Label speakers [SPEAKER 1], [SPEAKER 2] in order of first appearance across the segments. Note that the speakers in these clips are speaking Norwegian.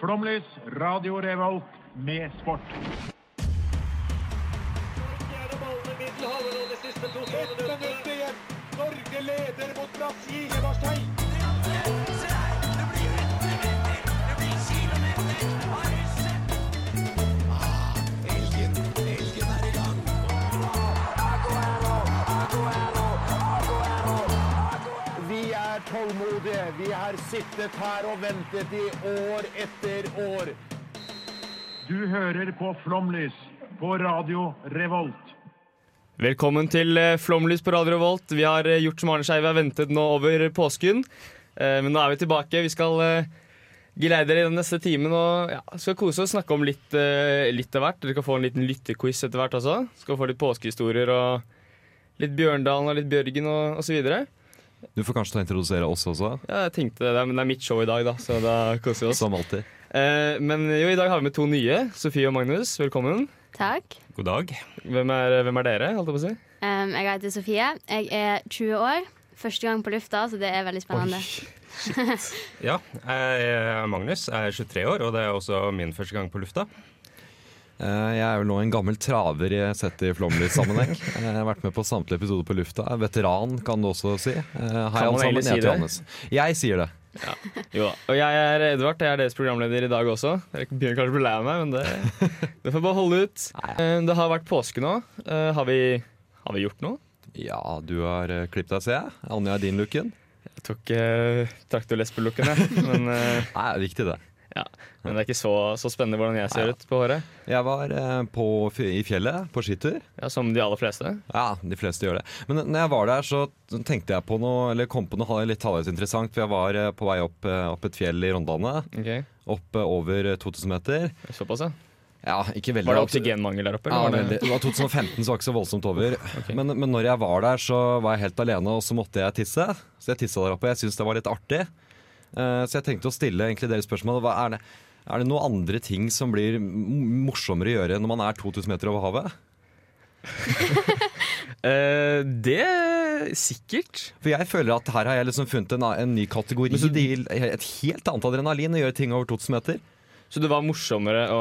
[SPEAKER 1] Flomlys, Radio Revolt, med sport.
[SPEAKER 2] Ett minutt igjen. Norge leder mot Brasil i Marseille.
[SPEAKER 3] Vi er tålmodige. Vi har sittet her og ventet i år etter år.
[SPEAKER 1] Du hører på Flomlys på Radio Revolt.
[SPEAKER 4] Velkommen til eh, Flomlys på Radio Revolt. Vi har eh, gjort som Arne Skeiv har ventet nå over påsken. Eh, Men nå er vi tilbake. Vi skal eh, geleide dere i den neste timen og ja, skal kose oss og snakke om litt, eh, litt av hvert. Dere skal få en liten lyttequiz etter hvert også. Skal få litt påskehistorier og litt Bjørndalen og litt Bjørgen og osv. Ja,
[SPEAKER 5] Du får kanskje ta og introdusere oss også,
[SPEAKER 4] jeg tenkte det, er- men det er mitt show i dag, da, så da koser vi oss.
[SPEAKER 5] som alltid.
[SPEAKER 4] Eh, Men jo, i dag har vi med to nye. Sofie og Magnus, velkommen.
[SPEAKER 6] Takk.
[SPEAKER 5] God dag.
[SPEAKER 4] Hvem er, hvem er dere, holdt jeg på å si?
[SPEAKER 6] Em, jeg heter Sofie. Jeg er 20 år. Første gang på lufta, så det er veldig spennende.
[SPEAKER 7] Ja, jeg er Magnus, jeg er 23 år, og det er også min første gang på lufta.
[SPEAKER 5] Eh, Jeg er vel nå en gammel traver i- sett i Flåmlys-sammenheng. Eh, Jeg har vært med på samtlige episoder på lufta. Jeg er Veteran, kan du også si. Eh, Hei, alle
[SPEAKER 4] man
[SPEAKER 5] sammen.
[SPEAKER 4] egentlig si
[SPEAKER 5] Jeg heter
[SPEAKER 4] det?
[SPEAKER 5] Johannes. Jeg sier det.
[SPEAKER 4] Jo da. Og jeg er Edvard, jeg er deres programleder i dag også. Dere begynner kanskje å bli lei av meg, men det, det får bare holde ut. Eh, Det har vært påske nå. Eh, Har vi, har vi gjort noe?
[SPEAKER 5] Ja, du har eh, klippet deg, ser jeg. Anja er din looken.
[SPEAKER 4] Jeg tok eh, traktorlesbelukken, jeg. Men, eh,
[SPEAKER 5] Nei, viktig det.
[SPEAKER 4] men det er ikke så, så spennende hvordan jeg ser ut på håret.
[SPEAKER 5] Jeg var eh, på, fj- i fjellet på skitur.
[SPEAKER 4] Ja, Som de aller fleste.
[SPEAKER 5] Ja, de fleste gjør det. Men når jeg var der, så tenkte jeg på noe, eller kom på noe litt halvveis interessant. For jeg var eh, på vei opp, eh, opp et fjell i Rondane.
[SPEAKER 4] Ok,
[SPEAKER 5] Opp eh, over eh, 2000 meter.
[SPEAKER 4] Såpass, ja.
[SPEAKER 5] Ja, ikke veldig
[SPEAKER 4] Var det
[SPEAKER 5] opp-
[SPEAKER 4] oksygenmangel der oppe?
[SPEAKER 5] Ja,
[SPEAKER 4] eller var
[SPEAKER 5] veldig.
[SPEAKER 4] det-
[SPEAKER 5] Det var 2015, så var det ikke så voldsomt over. Men, men når jeg var der, så var jeg helt alene, og så måtte jeg tisse. Så jeg tissa der oppe. Jeg syntes det var litt artig. Eh, så jeg tenkte å stille egentlig dere spørsmål. Hva er det? Er det noen andre ting som blir m- morsommere å gjøre når man er 2000 meter over havet?
[SPEAKER 4] Eh, det Sikkert.
[SPEAKER 5] For jeg føler at her har jeg liksom funnet en, a- en ny kategori. Det gir et helt annet adrenalin å gjøre ting over 2000 meter.
[SPEAKER 4] Så det var morsommere å,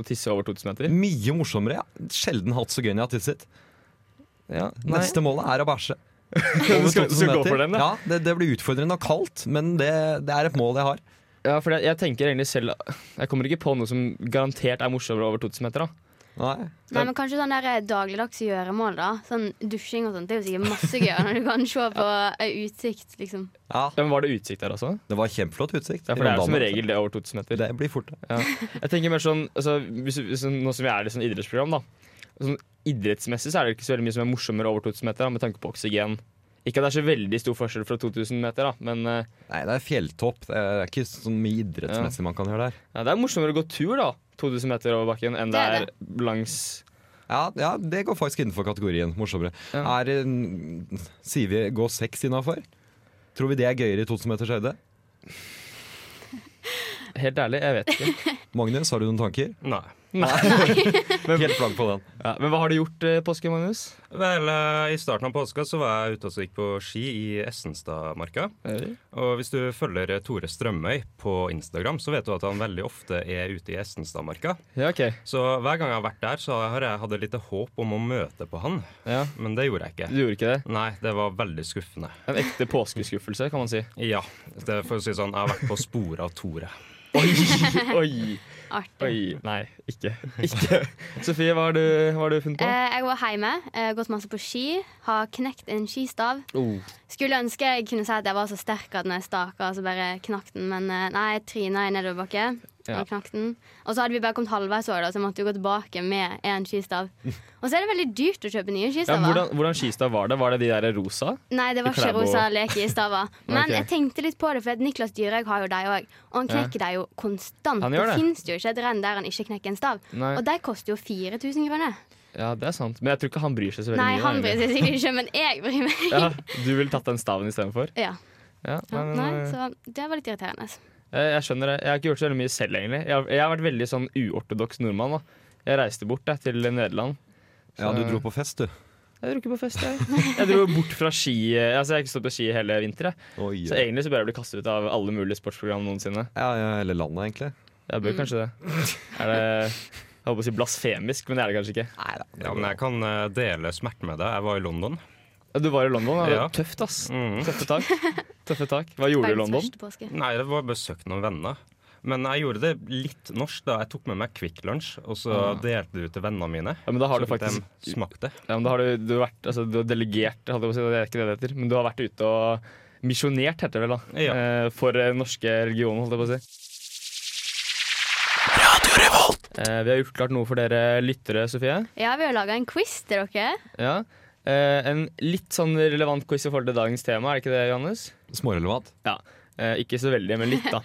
[SPEAKER 4] å tisse over 2000 meter?
[SPEAKER 5] Mye morsommere. Ja. Sjelden hatt så gøy når jeg har tisset.
[SPEAKER 4] Ja, nei.
[SPEAKER 5] Neste målet er å bæsje.
[SPEAKER 4] Du skal, du
[SPEAKER 5] 2000
[SPEAKER 4] skal gå
[SPEAKER 5] meter.
[SPEAKER 4] for den, da?
[SPEAKER 5] Ja, det, det blir utfordrende og kaldt, men det, det er et mål jeg har.
[SPEAKER 4] Ja, for jeg, jeg tenker egentlig selv Jeg kommer ikke på noe som garantert er morsommere over 2000 meter. da
[SPEAKER 5] Nei.
[SPEAKER 6] Nei, men Kanskje sånn der dagligdags gjøremål. da Sånn Dusjing og sånt. Det er jo sikkert masse gøy når du kan se på ei utsikt, liksom.
[SPEAKER 5] Ja,
[SPEAKER 4] ja, men Var det utsikt der også?
[SPEAKER 5] det var kjempeflott utsikt.
[SPEAKER 4] Ja, for Det er jo som
[SPEAKER 5] Rondane.
[SPEAKER 4] regel det over 2000 meter.
[SPEAKER 5] Det blir fort det.
[SPEAKER 4] Jeg tenker mer sånn altså, hvis, hvis, Nå som vi er i et sånt idrettsprogram, da. Sånn idrettsmessig så er det ikke så veldig mye som er morsommere over 2000 meter, da, med tanke på oksygen. Ikke at det er så veldig stor forskjell fra 2000 meter, da, men eh,
[SPEAKER 5] Nei, det er fjelltopp. Det er ikke sånn mye idrettsmessig man kan gjøre der.
[SPEAKER 4] ja, det er morsommere å gå tur, da. 2000 meter over bakken enn det
[SPEAKER 6] Det er
[SPEAKER 4] er langs
[SPEAKER 5] Ja, ja, det går faktisk innenfor kategorien. Morsommere.
[SPEAKER 4] Ja.
[SPEAKER 5] Er, eh, sier vi gå seks innafor? Tror vi det er gøyere i 2000 meters høyde?
[SPEAKER 4] Helt ærlig, jeg vet ikke.
[SPEAKER 5] Magnus, har du noen tanker?
[SPEAKER 7] Nei.
[SPEAKER 5] Helt blank på den.
[SPEAKER 4] Ja, men hva har du gjort eh, påske, Magnus?
[SPEAKER 7] Vel, eh, i starten av påska så var jeg ute og gikk på ski i Essenstadmarka. Og hvis du følger Tore Strømøy på Instagram, så vet du at han veldig ofte er ute i Essenstadmarka.
[SPEAKER 4] Ja, OK.
[SPEAKER 7] Så hver gang jeg har vært der, så har jeg hatt et lite håp om å møte på han.
[SPEAKER 4] Ja.
[SPEAKER 7] Men det gjorde jeg
[SPEAKER 4] Du
[SPEAKER 7] ikke.
[SPEAKER 4] gjorde ikke det?
[SPEAKER 7] Nei, det var veldig skuffende.
[SPEAKER 4] En ekte påskeskuffelse, kan man si.
[SPEAKER 7] Ja, det for å si sånn, jeg har vært på sporet av Tore.
[SPEAKER 4] Oi, oi,
[SPEAKER 6] Artig.
[SPEAKER 4] oi. Nei, ikke. ikke. Sofie, hva har du, hva har du funnet på?
[SPEAKER 6] Eh, jeg var hjemme, eh, gått masse på ski, har knekt en skistav.
[SPEAKER 4] Oh.
[SPEAKER 6] Skulle ønske jeg kunne si at jeg var så sterk at når jeg staka, så bare knakk den. Men eh, nei, jeg tryna i nedoverbakke
[SPEAKER 4] Ja.
[SPEAKER 6] og knakk den. Og så hadde vi bare kommet halvveis år, da, så jeg måtte jo gå tilbake med én skistav. Og så er det veldig dyrt å kjøpe nye
[SPEAKER 4] Ja,
[SPEAKER 6] skistaver.
[SPEAKER 4] hvordan, hvordan skistav var det? Var det de der rosa?
[SPEAKER 6] Nei, det var
[SPEAKER 4] Til
[SPEAKER 6] ikke
[SPEAKER 4] Klæbo.
[SPEAKER 6] rosa lekestaver. Men
[SPEAKER 4] Ok.
[SPEAKER 6] jeg tenkte litt på det, for at Niklas Dyrhaug har jo de òg. Og han knekker dem jo konstant.
[SPEAKER 4] Han gjør det.
[SPEAKER 6] det fins jo ikke et renn der han ikke knekker en stav.
[SPEAKER 4] Nei.
[SPEAKER 6] Og de koster jo 4000 kroner.
[SPEAKER 4] Ja, det er sant. Men jeg tror ikke han bryr seg så veldig
[SPEAKER 6] Nei,
[SPEAKER 4] mye.
[SPEAKER 6] han
[SPEAKER 4] da,
[SPEAKER 6] bryr seg sikkert ikke, men jeg bryr meg.
[SPEAKER 4] egentlig. Ja, du ville tatt den staven istedenfor?
[SPEAKER 6] Ja.
[SPEAKER 4] Ja, nei,
[SPEAKER 6] Ja,
[SPEAKER 4] eh,
[SPEAKER 6] nei,
[SPEAKER 4] nei, nei.
[SPEAKER 6] så det var litt irriterende.
[SPEAKER 4] Jeg, jeg skjønner det. Jeg har ikke gjort så veldig mye selv, egentlig. Jeg har, jeg har vært veldig sånn uortodoks nordmann. da. Jeg reiste bort jeg, til Nederland.
[SPEAKER 5] Ja, du dro på fest, du.
[SPEAKER 4] Jeg dro ikke på fest, jeg. Jeg dro bort fra ski Altså, jeg har ikke stått på ski hele vinter, jeg.
[SPEAKER 5] Oi,
[SPEAKER 4] Så egentlig så bør jeg bli kastet ut av alle mulige sportsprogram noensinne.
[SPEAKER 5] ja, ja, Eller landet, egentlig.
[SPEAKER 4] Jeg bør kanskje det. Er det Jeg holdt på å si blasfemisk, men det er det kanskje ikke.
[SPEAKER 7] Ja, men jeg kan eh, dele smerten med deg. Jeg var i London.
[SPEAKER 4] Ja, Du var i London. da. Det
[SPEAKER 7] Ja.
[SPEAKER 4] var tøft, ass.
[SPEAKER 7] Mhm.
[SPEAKER 4] Tøffe tak. Tøffe tak. Hva gjorde du i
[SPEAKER 6] Verdens
[SPEAKER 4] London?
[SPEAKER 6] verste påske.
[SPEAKER 7] Nei, det var besøkt noen venner. Men jeg gjorde det litt norsk. da Jeg tok med meg Quick Lunch, og så delte det ut til vennene mine.
[SPEAKER 4] Ja, men da Ah. har
[SPEAKER 7] så
[SPEAKER 4] du faktisk
[SPEAKER 7] de smakte.
[SPEAKER 4] ja, men da har du, du, har vært, altså, du har delegert, holdt jeg på å si, det er ikke det det heter, men du har vært ute og misjonert, heter det vel, da.
[SPEAKER 7] Ja.
[SPEAKER 4] Eh, For eh, norske religionen, holdt jeg på å si. Eh, Vi har gjort klart noe for dere lyttere, Sofie.
[SPEAKER 6] Ja, vi har laga en quiz til dere.
[SPEAKER 4] Ja. Eh, en litt sånn relevant quiz i forhold til dagens tema, er det ikke det, Johannes?
[SPEAKER 5] Smårelevant.
[SPEAKER 4] Ja. Eh, ikke så veldig, men litt, da.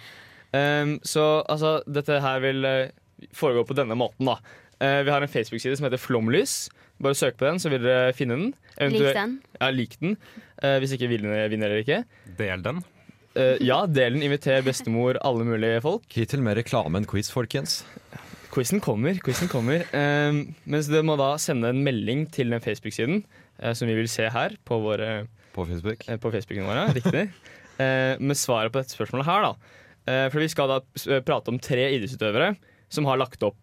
[SPEAKER 4] Em, så altså, dette her vil eh, foregå på denne måten, da. Eh, vi har en Facebook-side som heter Flomlys. Bare søk på den, så vil dere finne den.
[SPEAKER 6] Lik den.
[SPEAKER 4] Ja, lik den. Eh, hvis ikke vinner, vinner eller ikke.
[SPEAKER 7] Del den.
[SPEAKER 4] Eh, ja, del den. Inviter bestemor, alle mulige folk.
[SPEAKER 5] Hittil mer reklame enn quiz, folkens.
[SPEAKER 4] Quizen kommer. quizen kommer. Um, mens dere må da sende en melding til den Facebook-siden, eh, som vi vil se her på våre
[SPEAKER 5] På Facebook.
[SPEAKER 4] Eh, På Facebooken vår, ja. riktig. Eh, med svaret på dette spørsmålet her, da. Eh, for vi skal da s- eh, prate om tre idrettsutøvere som har lagt opp.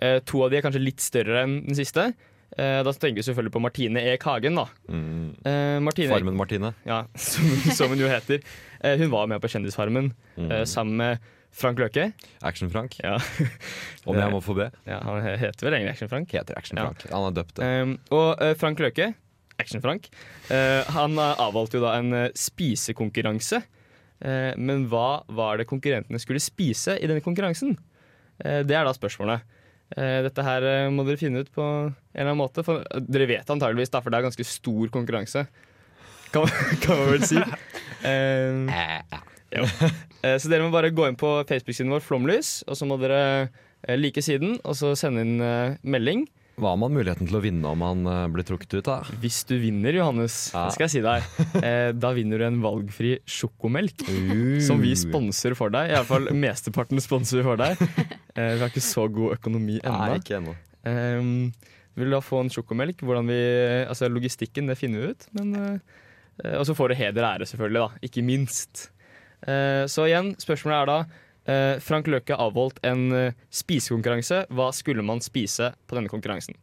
[SPEAKER 4] Eh, to av de er kanskje litt større enn den siste. Eh, da tenker vi selvfølgelig på Martine Eek Hagen, da. Eh, Martine Eek-
[SPEAKER 5] Mm. Farmen Martine.
[SPEAKER 4] ja, som, som hun jo heter. Eh, hun var med på Kjendisfarmen
[SPEAKER 5] Mm.
[SPEAKER 4] eh, sammen med Frank Løke.
[SPEAKER 5] Action-Frank.
[SPEAKER 4] Ja.
[SPEAKER 5] Om jeg må få be.
[SPEAKER 4] ja, han heter vel egentlig Action-Frank.
[SPEAKER 5] Heter Action-Frank. Han er døpt det.
[SPEAKER 4] Um, og eh, Frank Løke, Action-Frank, eh, han eh, avholdt jo da en eh, spisekonkurranse. Eh, men hva var det konkurrentene skulle spise i denne konkurransen? Eh, det er da spørsmålet. Eh, dette her eh, må dere finne ut på en eller annen måte. For eh, dere vet antageligvis, da, for det er ganske stor konkurranse. Kan, man- kan man vel si. Eh, jo. Eh, så dere må bare gå inn på Facebook-siden vår, Flomlys, og så må dere eh, like siden, og så sende inn eh, melding.
[SPEAKER 5] Hva har man muligheten til å vinne om han eh, blir trukket ut, da?
[SPEAKER 4] Hvis du vinner, Johannes,
[SPEAKER 5] Ja.
[SPEAKER 4] det skal jeg si deg, eh, da vinner du en valgfri sjokomelk. Som vi sponser for deg. Iallfall mesteparten sponser vi for deg. Eh, vi har ikke så god økonomi
[SPEAKER 5] Nei,
[SPEAKER 4] ennå.
[SPEAKER 5] ikke ennå.
[SPEAKER 4] Eh, vil du da få en sjokomelk? Hvordan vi, altså Logistikken, det finner vi ut. Men, eh, og så får du heder og ære, selvfølgelig. da, Ikke minst. Eh, så igjen, spørsmålet er da eh, Frank Løke avholdt en eh, spisekonkurranse. Hva skulle man spise på denne konkurransen?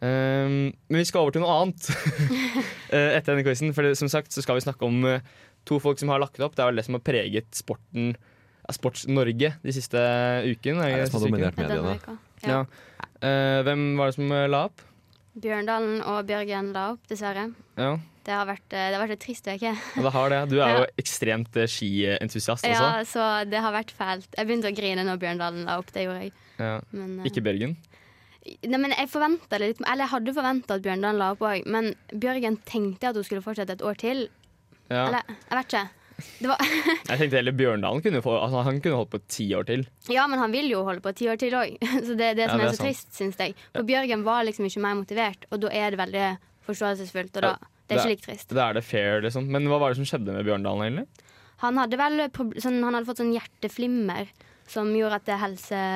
[SPEAKER 4] Eh, men vi skal over til noe annet eh, etter denne quizen. For det, som sagt så skal vi snakke om eh, to folk som har lagt det opp. Det er vel det som har preget sporten ja, Sports-Norge de siste ukene.
[SPEAKER 5] Det er det som
[SPEAKER 4] siste
[SPEAKER 5] har
[SPEAKER 4] uken.
[SPEAKER 5] dominert
[SPEAKER 6] Ja, denne
[SPEAKER 5] mediene.
[SPEAKER 6] uka.
[SPEAKER 4] Ja.
[SPEAKER 6] Ja.
[SPEAKER 4] Eh, hvem var det som eh, la opp?
[SPEAKER 6] Bjørndalen og Bjørgen la opp, dessverre.
[SPEAKER 4] Ja,
[SPEAKER 6] Det har vært, eh, det har vært en trist uke.
[SPEAKER 4] og det har det. Du er jo
[SPEAKER 6] Ja.
[SPEAKER 4] ekstremt eh, skientusiast også.
[SPEAKER 6] Ja, så det har vært fælt. Jeg begynte å grine når Bjørndalen la opp, det gjorde jeg.
[SPEAKER 4] Ja.
[SPEAKER 6] Men, eh,
[SPEAKER 4] Ikke Bjørgen.
[SPEAKER 6] Nei, men jeg forventet det litt Eller jeg hadde forventa at Bjørndalen la opp òg, men Bjørgen tenkte at hun skulle fortsette et år til.
[SPEAKER 4] Ja.
[SPEAKER 6] Eller, jeg vet ikke. Det var,
[SPEAKER 4] Jeg tenkte heller Bjørndalen kunne, få, altså, han kunne holdt på ti år til.
[SPEAKER 6] ja, men han vil jo holde på ti år til òg, så det er det
[SPEAKER 4] Ja,
[SPEAKER 6] som
[SPEAKER 4] det
[SPEAKER 6] er,
[SPEAKER 4] er
[SPEAKER 6] så
[SPEAKER 4] sant.
[SPEAKER 6] trist, syns jeg. For Bjørgen var liksom ikke mer motivert, og da er det veldig forståelsesfullt, og da det er ikke like trist.
[SPEAKER 4] Da er det fair, liksom. Men hva var det som skjedde med Bjørndalen, egentlig?
[SPEAKER 6] Han hadde vel prob- sånn, han hadde fått sånn hjerteflimmer som gjorde at det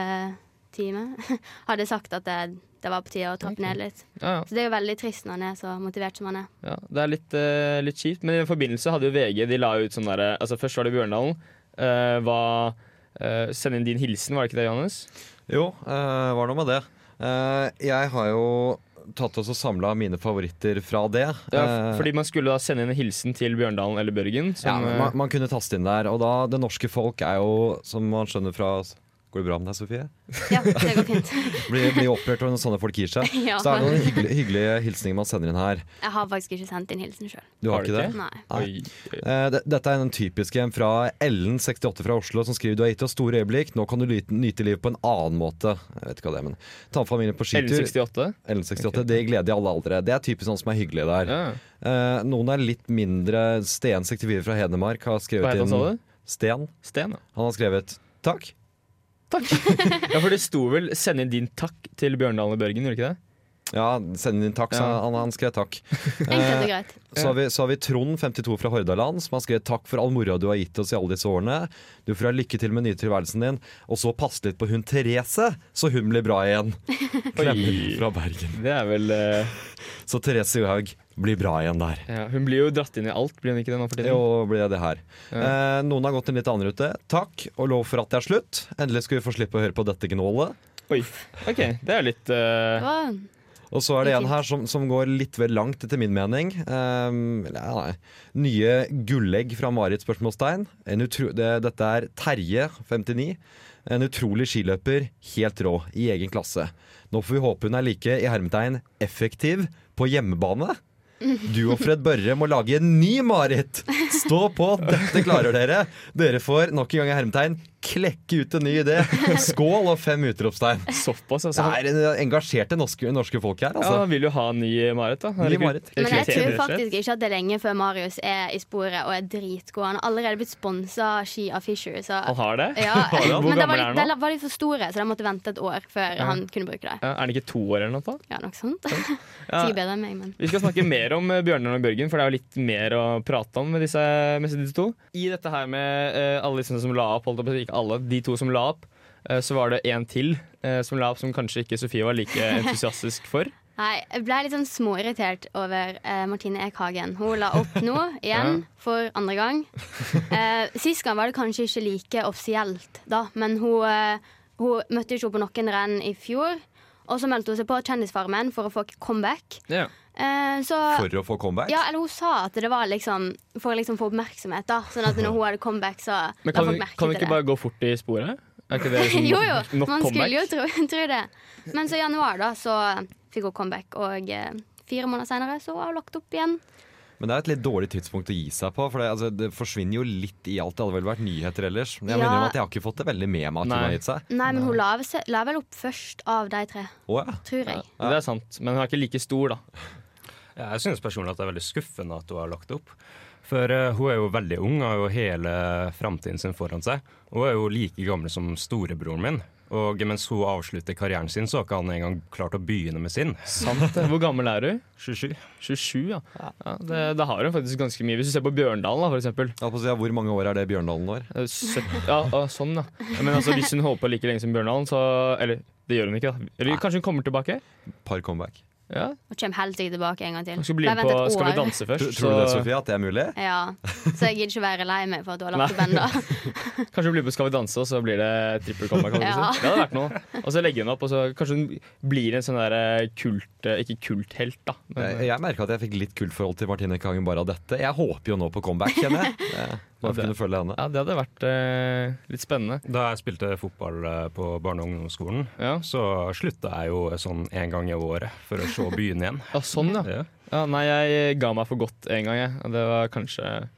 [SPEAKER 6] helseteamet hadde sagt at det, det var på tide å trappe ned litt.
[SPEAKER 4] Ja, ja.
[SPEAKER 6] Så det er jo veldig trist når han er så motivert som han er.
[SPEAKER 4] Ja, det er litt, eh, litt kjipt, men i den forbindelse hadde jo VG De la ut sånn derre altså Først var det Bjørndalen. eh, hva eh, Send inn din hilsen, var det ikke det, Johannes?
[SPEAKER 5] Jo, uh, var noe med det. Eh, jeg har jo tatt oss og samla mine favoritter fra det.
[SPEAKER 4] Ja,
[SPEAKER 5] Eh,
[SPEAKER 4] f- fordi man skulle da sende inn en hilsen til Bjørndalen eller Børgen.
[SPEAKER 5] ja,
[SPEAKER 4] Som, eh,
[SPEAKER 5] man, man kunne taste inn der. Og da, det norske folk er jo, som man skjønner fra Går det bra med deg, Sofie?
[SPEAKER 6] Ja, det går fint.
[SPEAKER 5] Blir, blir opprørt når sånne folk gir seg.
[SPEAKER 6] Ja.
[SPEAKER 5] Så det er noen hyggelige, hyggelige hilsninger man sender inn her.
[SPEAKER 6] Jeg har faktisk ikke sendt inn hilsen sjøl.
[SPEAKER 5] Du har,
[SPEAKER 4] Har du
[SPEAKER 5] ikke det?
[SPEAKER 4] ikke?
[SPEAKER 6] Nei.
[SPEAKER 4] eh, oi, oi.
[SPEAKER 5] Eh, det- Dette er den typiske en fra Ellen68 fra Oslo som skriver Du har gitt oss store øyeblikk, nå kan du lyte- nyte livet på en annen måte. Jeg vet ikke hva det er, men Ta med familien på skitur.
[SPEAKER 4] L68.
[SPEAKER 5] Ellen68, Det gleder i alle aldre. Det er typisk sånn som er hyggelig der.
[SPEAKER 4] Ja.
[SPEAKER 5] Eh, noen er litt mindre Sten64 fra Hedmark har skrevet
[SPEAKER 4] Hva het han,
[SPEAKER 5] inn
[SPEAKER 4] sa du?
[SPEAKER 5] Sten.
[SPEAKER 4] Sten, ja.
[SPEAKER 5] Han har skrevet takk.
[SPEAKER 4] Ja, for det sto vel 'send inn din takk til Bjørndalen og Børgen', gjorde det ikke det?
[SPEAKER 5] Ja, send inn takk, sa
[SPEAKER 4] Ja.
[SPEAKER 5] han. Han skrev takk.
[SPEAKER 6] Enkelt og greit.
[SPEAKER 5] Så har, vi, så har vi Trond, 52 fra Hordaland, som har skrevet 'Takk for all moroa du har gitt oss i alle disse årene'. 'Du får ha lykke til med nye tilværelsen din', og så passe litt på hun Therese, så hun blir bra igjen. Klemmer fra Bergen.
[SPEAKER 4] Det er vel eh,
[SPEAKER 5] Så Therese Johaug, blir bra igjen der.
[SPEAKER 4] Ja, hun blir jo dratt inn i alt, blir hun ikke det nå for tiden?
[SPEAKER 5] Jo, blir det det her. Eh, noen har gått en litt annen rute. Takk og lov for at det er slutt. Endelig skal vi få slippe å høre på dette gnålet.
[SPEAKER 4] Oi, ok, det er jo litt eh,
[SPEAKER 6] Det var
[SPEAKER 5] Og så er det
[SPEAKER 6] Det er
[SPEAKER 5] en her som, som går litt vel langt, etter min mening. Ehm, eller, ja, nei. Nye gullegg fra Marit spørsmålstegn. En utro det, dette er Terje, 59. En utrolig skiløper, helt rå, i egen klasse. Nå får vi håpe hun er like i hermetegn effektiv på hjemmebane. Du og Fred Børre må lage en ny Marit! Stå på, dette klarer dere! Dere får nok en gang i hermetegn klekke ut en ny idé. Skål og fem utropstegn.
[SPEAKER 4] såpass. Altså.
[SPEAKER 5] Det er en- engasjerte norske, norske folk her,
[SPEAKER 4] Ja,
[SPEAKER 5] altså.
[SPEAKER 4] han vil jo ha en ny Marit, da. Herregud.
[SPEAKER 5] Marit.
[SPEAKER 6] Men jeg tror
[SPEAKER 4] Rekruttering, rett og slett.
[SPEAKER 6] faktisk ikke at det er lenge før Marius er i sporet og er dritgod. Han har allerede blitt sponsa av Ski av Fisher. Så.
[SPEAKER 4] Han har det?
[SPEAKER 6] Ja,
[SPEAKER 4] Hvor gammel
[SPEAKER 6] men da
[SPEAKER 4] er
[SPEAKER 6] var,
[SPEAKER 4] han
[SPEAKER 6] de,
[SPEAKER 4] nå?
[SPEAKER 6] da var de for store, så de måtte vente et år før han kunne bruke det.
[SPEAKER 4] Ja, Er han ikke to år eller noe? da?
[SPEAKER 6] Ja, nok sånt.
[SPEAKER 4] Ja.
[SPEAKER 6] Sikkert bedre enn meg, men
[SPEAKER 4] Vi skal snakke mer om eh, Bjørnar og Bjørgen, for det er jo litt mer å prate om med disse, med disse to. I dette her med eh, alle disse som la opp, holdt jeg på å si, ikke alle, de to som la opp, eh, så var det en til eh, som la opp som kanskje ikke Sofie var like entusiastisk for.
[SPEAKER 6] Nei, jeg ble litt sånn småirritert over eh, Martine Eek Hagen. Hun la opp nå, igjen, for andre gang. Eh, sist gang var det kanskje ikke like offisielt, da, men hun, eh, hun møtte ikke opp på noen renn i fjor. Og så meldte hun seg på Kjendisfarmen for å få comeback. Eh, så
[SPEAKER 5] For å få comeback?
[SPEAKER 6] ja, eller hun sa at det var liksom for å liksom få oppmerksomhet, da. Sånn at når hun hadde comeback, så
[SPEAKER 4] Men
[SPEAKER 6] la
[SPEAKER 4] kan,
[SPEAKER 6] folk merke
[SPEAKER 4] kan vi
[SPEAKER 6] til
[SPEAKER 4] ikke
[SPEAKER 6] det.
[SPEAKER 4] bare gå fort i sporet? Er ikke det liksom
[SPEAKER 6] jo, jo.
[SPEAKER 4] nok
[SPEAKER 6] Man skulle jo
[SPEAKER 4] comeback?
[SPEAKER 6] tro, tro det. Men så i januar, da, så eh, fikk hun comeback. Og eh, fire måneder seinere så har hun lagt opp igjen.
[SPEAKER 5] Men det er et litt dårlig tidspunkt å gi seg på. For det, altså, det forsvinner jo litt i alt. Det hadde vel vært nyheter ellers. Men jeg
[SPEAKER 6] Ja.
[SPEAKER 5] mener jo at jeg har ikke fått det veldig med meg at hun
[SPEAKER 4] Nei.
[SPEAKER 5] har gitt seg.
[SPEAKER 6] Nei, men hun la, vel se- la vel opp først av de tre,
[SPEAKER 5] Å, ja.
[SPEAKER 6] tror jeg.
[SPEAKER 4] Det er sant, men hun er ikke like stor, da.
[SPEAKER 7] Jeg synes personlig at det er veldig skuffende at hun har lagt opp. For eh, hun er jo veldig ung, har jo hele framtiden sin foran seg. Hun er jo like gammel som storebroren min. Og mens hun avslutter karrieren sin, så har ikke han engang klart å begynne med sin.
[SPEAKER 4] Sant. det. Hvor gammel er du?
[SPEAKER 7] 27.
[SPEAKER 4] 27, ja. ja det, da har hun faktisk ganske mye. Hvis du ser på Bjørndalen, da, for eksempel.
[SPEAKER 5] Jeg holdt på å si, ja, Hvor mange år er det Bjørndalen når?
[SPEAKER 4] Eh, søtt- Ja, ah, sånn, ja. Men altså, hvis hun holder på like lenge som Bjørndalen, så Eller det gjør hun ikke, da. Eller kanskje hun kommer tilbake?
[SPEAKER 5] Par comeback.
[SPEAKER 4] Ja,
[SPEAKER 6] Og kommer helt sikkert tilbake en gang til.
[SPEAKER 4] Hun skal bli
[SPEAKER 6] Da
[SPEAKER 4] med
[SPEAKER 6] vent
[SPEAKER 4] på
[SPEAKER 6] et
[SPEAKER 4] Skal vi
[SPEAKER 6] år.
[SPEAKER 4] danse først.
[SPEAKER 5] Tror, tror du det, Sofie, at det er mulig?
[SPEAKER 6] Ja, Så jeg gidder ikke være lei meg for at hun har lagt opp
[SPEAKER 4] Nei.
[SPEAKER 6] ennå.
[SPEAKER 4] Kanskje hun blir med på Skal vi danse, og så blir det trippel comeback. holdt jeg på å
[SPEAKER 6] Ja.
[SPEAKER 4] si. Det hadde vært noe. Og så legge hun opp, og så kanskje hun blir en sånn der eh, kult eh, Ikke kulthelt, da. Men,
[SPEAKER 5] Jeg, jeg merka at jeg fikk litt kult forhold til Martine Kangen bare av dette. Jeg håper jo nå på comeback, kjenner jeg. Eh, Bare for å kunne følge henne.
[SPEAKER 4] ja, det hadde vært eh, litt spennende.
[SPEAKER 7] Da jeg spilte fotball eh, på barne- og ungdomsskolen,
[SPEAKER 4] Ja.
[SPEAKER 7] så slutta jeg jo sånn en gang i året for å se byen igjen.
[SPEAKER 4] ja, sånn, ja.
[SPEAKER 7] Ja.
[SPEAKER 4] ja. Nei, jeg ga meg for godt en gang, jeg. Og det var kanskje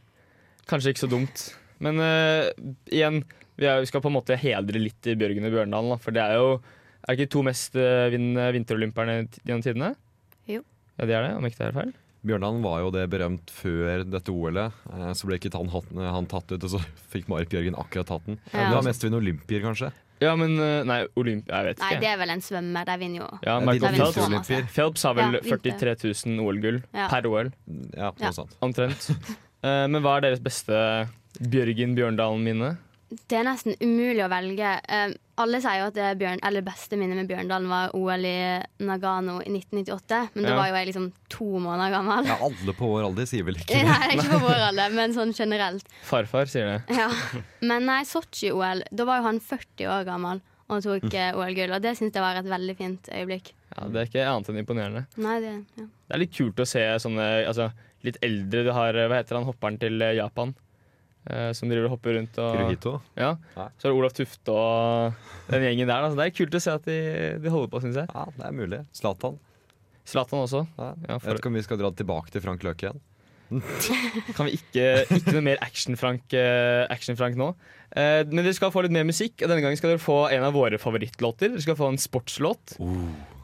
[SPEAKER 4] Kanskje ikke så dumt. Men eh, igjen, vi, er, vi skal på en måte hedre litt i Bjørgen og Bjørndalen, da. For det er jo Er det ikke to mest eh, vinn- vinterolympierne gjennom tidene?
[SPEAKER 6] Jo.
[SPEAKER 4] Ja, det er det, om ikke det er feil.
[SPEAKER 5] Bjørndalen var jo det berømt før dette OL-et. eh, Så ble ikke han, hatt- han tatt ut, og så fikk Marit Bjørgen akkurat hatten.
[SPEAKER 6] Ja.
[SPEAKER 5] Det var mest ved en olympier, kanskje.
[SPEAKER 4] Ja, men eh, Nei, Olymp... Jeg vet
[SPEAKER 6] Nei,
[SPEAKER 4] ikke.
[SPEAKER 6] det er vel en svømmer. De vinner jo.
[SPEAKER 4] ja,
[SPEAKER 5] Eh,
[SPEAKER 4] Michael
[SPEAKER 5] vinner
[SPEAKER 6] de- Phelps.
[SPEAKER 5] jo
[SPEAKER 4] Phelps.
[SPEAKER 5] olympier.
[SPEAKER 4] Phelps har vel
[SPEAKER 6] Ja, vinter.
[SPEAKER 4] 43 000 OL-gull
[SPEAKER 6] Ja.
[SPEAKER 4] per OL,
[SPEAKER 5] Ja, noe
[SPEAKER 6] Ja.
[SPEAKER 5] sånt.
[SPEAKER 4] omtrent. Eh, men hva er deres beste Bjørgen Bjørndalen-minne?
[SPEAKER 6] Det er nesten umulig å velge. Eh, alle sier jo at det er Bjørn, eller beste minnet med Bjørndalen var OL i Nagano i 1998, men da
[SPEAKER 4] Ja.
[SPEAKER 6] var jo jeg liksom to måneder gammel.
[SPEAKER 5] Ja, alle på vår alder sier vel ikke det.
[SPEAKER 6] Nei, ikke for vår alder, men sånn generelt.
[SPEAKER 4] Farfar sier det.
[SPEAKER 6] Ja. Men nei, Sotsji-OL, da var jo han 40 år gammel og tok
[SPEAKER 5] Mm.
[SPEAKER 6] eh, OL-gull, og det syns jeg var et veldig fint øyeblikk.
[SPEAKER 4] Ja, det er ikke annet enn imponerende.
[SPEAKER 6] Nei, det, ja.
[SPEAKER 4] Det er litt kult å se sånne altså, litt eldre Du har eh, hva heter han, hopperen til eh, Japan? eh, som driver og hopper rundt og
[SPEAKER 5] Hirohito.
[SPEAKER 4] ja.
[SPEAKER 5] Ja.
[SPEAKER 4] Så er det Olaf Tufte og den gjengen der. Altså, det er kult å se at de, de holder på, syns jeg.
[SPEAKER 5] Ja, det er mulig. Zlatan.
[SPEAKER 4] Zlatan også.
[SPEAKER 5] Ja.
[SPEAKER 4] Ja,
[SPEAKER 5] Jeg
[SPEAKER 4] for,
[SPEAKER 5] vet ikke om vi skal dra tilbake til Frank Løke igjen.
[SPEAKER 4] Kan vi ikke, ikke noe mer action-Frank eh, action-Frank nå. Eh, men dere skal få litt mer musikk, og denne gangen skal dere få en av våre favorittlåter. Dere skal få en sportslåt.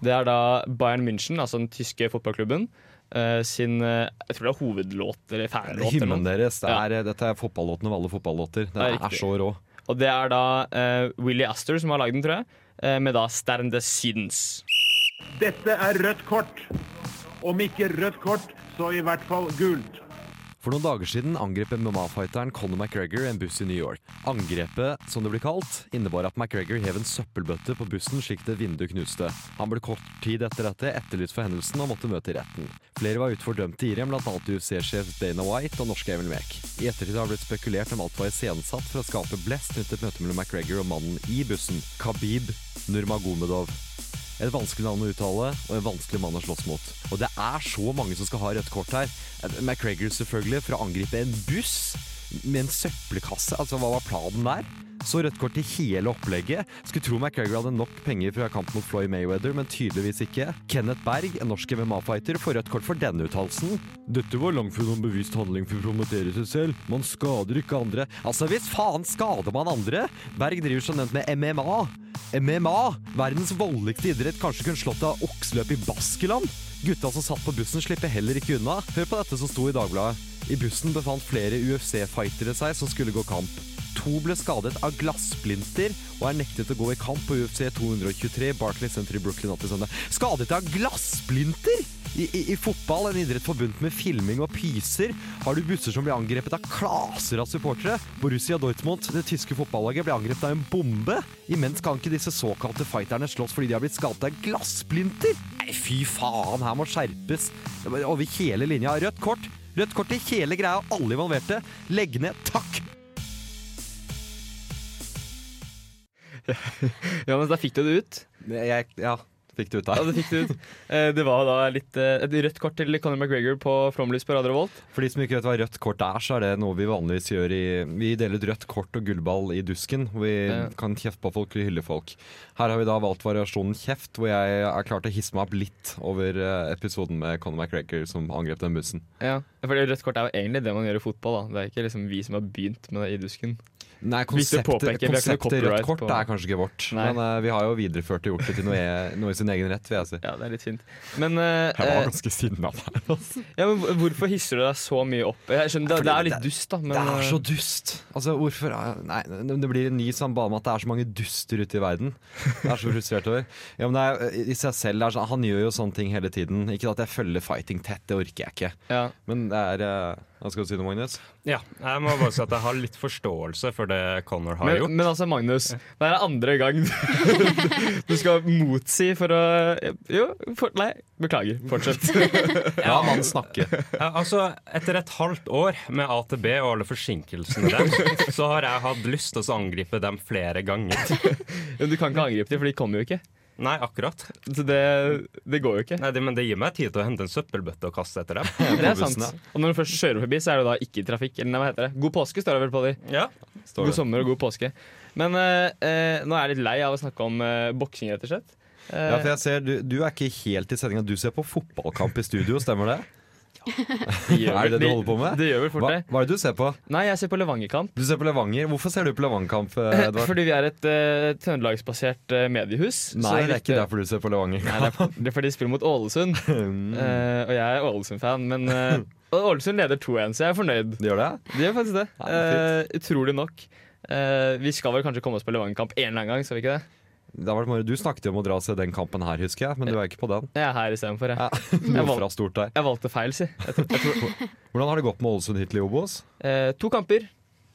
[SPEAKER 4] Det er da Bayern München, altså den tyske fotballklubben, eh, sin eh, Jeg tror det er hovedlåt eller fanlåt. eller
[SPEAKER 5] Hymnen
[SPEAKER 4] noe.
[SPEAKER 5] deres. Det er, Dette er fotballåten av alle fotballåter. Den
[SPEAKER 4] Det er
[SPEAKER 5] er,
[SPEAKER 4] riktig.
[SPEAKER 5] så rå.
[SPEAKER 4] Og det er da eh, Willy Astor som har lagd den, tror jeg, eh, med da Stern des Sidens.
[SPEAKER 1] Dette er rødt kort. Om ikke rødt kort, så i hvert fall gult.
[SPEAKER 5] For noen dager siden angrep MMA-fighteren Conor McGregor en buss i New York. Angrepet, som det blir kalt, innebar at McGregor hev en søppelbøtte på bussen slik det vinduet knuste. Han ble kort tid etter dette etterlyst for hendelsen og måtte møte i retten. Flere var ute for dømt i Irem, bl.a. UFC-sjef Dana White og norske Emil Mek. I ettertid har det blitt spekulert om alt var iscenesatt for å skape blest rundt et møte mellom McGregor og mannen i bussen, Khabib Nurmagomedov. Et vanskelig navn å uttale, og en vanskelig mann å slåss mot. Og det er så mange som skal ha rødt kort her. Eh, McGregor selvfølgelig, for å angripe en buss med en søppelkasse. Altså, hva var planen der? Så rødt kort i hele opplegget. Skulle tro McGregor hadde nok penger fra kamp mot Floyd Mayweather, men tydeligvis ikke. Kenneth Berg, en norsk MMA-fighter, får rødt kort for denne uttalelsen. Dette var langt fra noen bevist handling for å promotere seg selv. Man skader ikke andre. Altså, hvis faen skader man andre? Berg driver som nevnt med MMA. MMA, verdens voldeligste idrett, kanskje kunne slått av okseløp i Baskeland? Gutta som satt på bussen slipper heller ikke unna. Hør på dette som sto i Dagbladet. I bussen befant flere UFC-fightere seg som skulle gå kamp. To ble skadet av glassplinter og er nektet å gå i kamp på UFC 223 Barclay Center i Brooklyn natt til søndag. Skadet av glassplinter! I, i, I fotball, en idrett forbundet med filming og pyser, har du busser som blir angrepet av klaser av supportere. Borussia Dortmund, det tyske fotballaget, ble angrepet av en bombe. Imens kan ikke disse såkalte fighterne slåss fordi de har blitt skadet av glassplinter. Nei, fy faen, her må skjerpes. Det var Over hele linja. Rødt kort. Rødt kort til hele greia, alle involverte. Legg ned. Takk!
[SPEAKER 4] Ja, men da fikk du det ut.
[SPEAKER 5] Jeg, ja, fikk det ut
[SPEAKER 4] Ja,
[SPEAKER 5] der.
[SPEAKER 4] Det fikk du ut. Eh, Det var da litt, eh, et rødt kort til Conor McGregor på Flomlys på Radio Revolt.
[SPEAKER 5] For de som ikke vet hva rødt kort er, så er det noe vi vanligvis gjør i Vi deler ut rødt kort og gullball i dusken. Hvor vi
[SPEAKER 4] Ja.
[SPEAKER 5] kan kjefte på folk og hylle folk. Her har vi da valgt variasjonen kjeft, hvor jeg er klar til å hisse meg opp litt over eh, episoden med Conor McGregor som angrep den bussen.
[SPEAKER 4] Ja, for det rødt kort er jo egentlig det man gjør i fotball. da Det er ikke liksom vi som har begynt med det i dusken.
[SPEAKER 5] Nei,
[SPEAKER 4] Viktig å
[SPEAKER 5] konseptet,
[SPEAKER 4] påpeke, vi har ikke noe
[SPEAKER 5] konseptet rødt
[SPEAKER 4] copyright
[SPEAKER 5] kort
[SPEAKER 4] på-
[SPEAKER 5] er kanskje ikke vårt.
[SPEAKER 4] Nei.
[SPEAKER 5] Men eh, vi har jo videreført det og gjort det til noe, e- noe i sin egen rett, vil jeg si.
[SPEAKER 4] Ja, det er litt fint. Men, eh,
[SPEAKER 5] Jeg
[SPEAKER 4] eh,
[SPEAKER 5] var ganske sinna der. Altså.
[SPEAKER 4] ja, men hvor- hvorfor hisser du deg så mye opp? Jeg skjønner, Det, det er
[SPEAKER 5] Fordi
[SPEAKER 4] litt
[SPEAKER 5] det-
[SPEAKER 4] dust, da. Men,
[SPEAKER 5] Det er så
[SPEAKER 4] eh,
[SPEAKER 5] dust! Altså, hvorfor er- Nei, det blir en ny sånn bare med at det er så mange duster ute i verden. Jeg er så frustrert over. Ja, men det er, I seg selv er sånn Han gjør jo sånne ting hele tiden. Ikke at jeg følger fighting tett, det orker jeg ikke.
[SPEAKER 4] ja.
[SPEAKER 5] Men det er eh, Hva skal du si nå, Magnus?
[SPEAKER 7] Ja, jeg må bare si at jeg har litt forståelse for det Connor har
[SPEAKER 4] Men,
[SPEAKER 7] gjort.
[SPEAKER 4] men altså, Magnus, det er andre gang du- du skal motsi for å Jo, for, nei, beklager. Fortsett.
[SPEAKER 5] La mannen snakke.
[SPEAKER 7] Ja, altså, etter et halvt år med AtB og alle forsinkelsene der, så har jeg hatt lyst til å angripe dem flere ganger.
[SPEAKER 4] Men Du kan ikke angripe dem, for de kommer jo ikke.
[SPEAKER 7] Nei, akkurat.
[SPEAKER 4] Så det, det går jo ikke.
[SPEAKER 7] Nei, det, Men det gir meg tid til å hente en søppelbøtte og kaste etter dem.
[SPEAKER 4] Det er
[SPEAKER 5] på bussen,
[SPEAKER 4] sant. Og når du først kjører forbi, så er du da ikke i trafikk. Eller nei, hva heter det? God påske, står det vel på de.
[SPEAKER 7] Ja,
[SPEAKER 5] Står
[SPEAKER 4] God
[SPEAKER 5] det.
[SPEAKER 4] sommer og god påske. Men eh, eh, nå er jeg litt lei av å snakke om eh, boksing, rett og slett. Eh,
[SPEAKER 5] Ja, for jeg ser, du, du er ikke helt i sendinga. Du ser på fotballkamp i studio, stemmer det?
[SPEAKER 4] det gjør
[SPEAKER 5] Er det
[SPEAKER 4] vel-
[SPEAKER 5] det du holder på med?
[SPEAKER 4] Det gjør vel fort
[SPEAKER 5] Hva,
[SPEAKER 4] det.
[SPEAKER 5] hva er det du ser på?
[SPEAKER 4] Nei, jeg ser på Levangerkamp.
[SPEAKER 5] Du ser på Levanger. Hvorfor ser du på Levanger-kamp, eh, Edvard?
[SPEAKER 4] Fordi vi er et uh, trøndelagsbasert eh, mediehus. så
[SPEAKER 5] Nei, det er ikke
[SPEAKER 4] viktig-
[SPEAKER 5] derfor du ser på Levanger.
[SPEAKER 4] Nei, det, er, det er fordi de spiller mot Ålesund. Eh, og jeg er Ålesund-fan, men eh, og Ålesund leder 2-1, så jeg er fornøyd.
[SPEAKER 5] Det gjør det?
[SPEAKER 4] De gjør faktisk det.
[SPEAKER 5] Ja,
[SPEAKER 4] Eh, utrolig nok. Eh, vi skal vel kanskje komme oss på Levangerkamp en eller annen gang, skal vi ikke det?
[SPEAKER 5] Det har vært moro. Du snakket jo om å dra og se den kampen her, husker jeg, men du er ikke på den.
[SPEAKER 4] Jeg er her istedenfor, jeg.
[SPEAKER 5] Ja,
[SPEAKER 4] Jeg
[SPEAKER 5] Noe
[SPEAKER 4] valg-
[SPEAKER 5] fra stort der.
[SPEAKER 4] Jeg valgte feil, si. Jeg tror- jeg tror-
[SPEAKER 5] Hvordan har det gått med Ålesund hittil i Obos?
[SPEAKER 4] Eh, to kamper,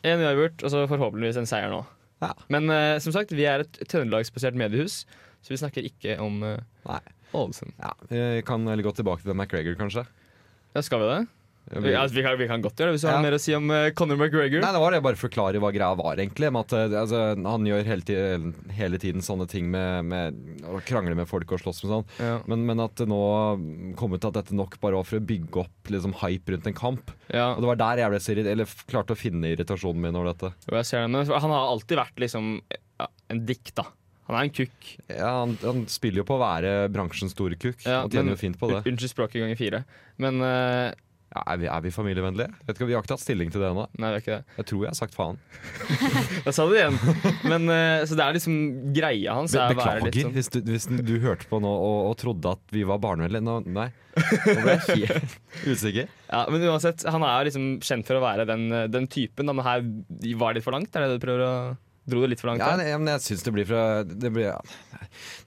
[SPEAKER 4] én uavgjort, og så forhåpentligvis en seier nå.
[SPEAKER 5] Ja.
[SPEAKER 4] Men eh, som sagt, vi er et trøndelagsbasert mediehus, så vi snakker ikke om eh,
[SPEAKER 5] Nei.
[SPEAKER 4] Ålesund.
[SPEAKER 5] Ja, vi kan heller gå tilbake til McGregor, kanskje.
[SPEAKER 4] Ja, skal vi det? Vi,
[SPEAKER 5] Vi-
[SPEAKER 4] altså, vi, kan, vi kan godt gjøre det, hvis du
[SPEAKER 5] Ja.
[SPEAKER 4] har mer å si om eh, Conor McGregor.
[SPEAKER 5] Nei, det var det jeg bare forklarer hva greia var, egentlig. Med at eh, altså, Han gjør hele tiden, hele tiden sånne ting med, med å krangle med folk og slåss med sånn.
[SPEAKER 4] Ja.
[SPEAKER 5] Men, men at det nå kom ut at dette nok bare var for å bygge opp liksom, hype rundt en kamp.
[SPEAKER 4] Ja.
[SPEAKER 5] Og det var der jeg ble så irrit- eller f- klarte å finne irritasjonen min over dette.
[SPEAKER 4] Jo, jeg ser det, men han har alltid vært liksom ja, en dikt, da. Han er en kukk.
[SPEAKER 5] Ja, han, han spiller jo på å være bransjens store kukk,
[SPEAKER 4] Ja,
[SPEAKER 5] og tjener
[SPEAKER 4] men-
[SPEAKER 5] jo fint på det.
[SPEAKER 4] Unnskyld språket ganger fire. Men eh,
[SPEAKER 5] Ja, er, vi, er vi familievennlige? Vet ikke, vi har ikke tatt stilling til det ennå.
[SPEAKER 4] Nei, det er ikke det.
[SPEAKER 5] Jeg tror jeg har sagt faen.
[SPEAKER 4] Jeg sa det igjen. Men, eh, så det er liksom greia hans. er
[SPEAKER 5] Be
[SPEAKER 4] å være
[SPEAKER 5] beklager
[SPEAKER 4] litt sånn-
[SPEAKER 5] hvis, du, hvis du hørte på nå og, og trodde at vi var barnevennlige. Nå, nei. Nå ble jeg helt usikker.
[SPEAKER 4] Ja, men eh, uansett, han er liksom kjent for å være den, den typen. Da, men her var det litt for langt, er det det du prøver å Dro det litt for langt?
[SPEAKER 5] Ja,
[SPEAKER 4] her?
[SPEAKER 5] det, ja, men jeg syns det blir for det blir,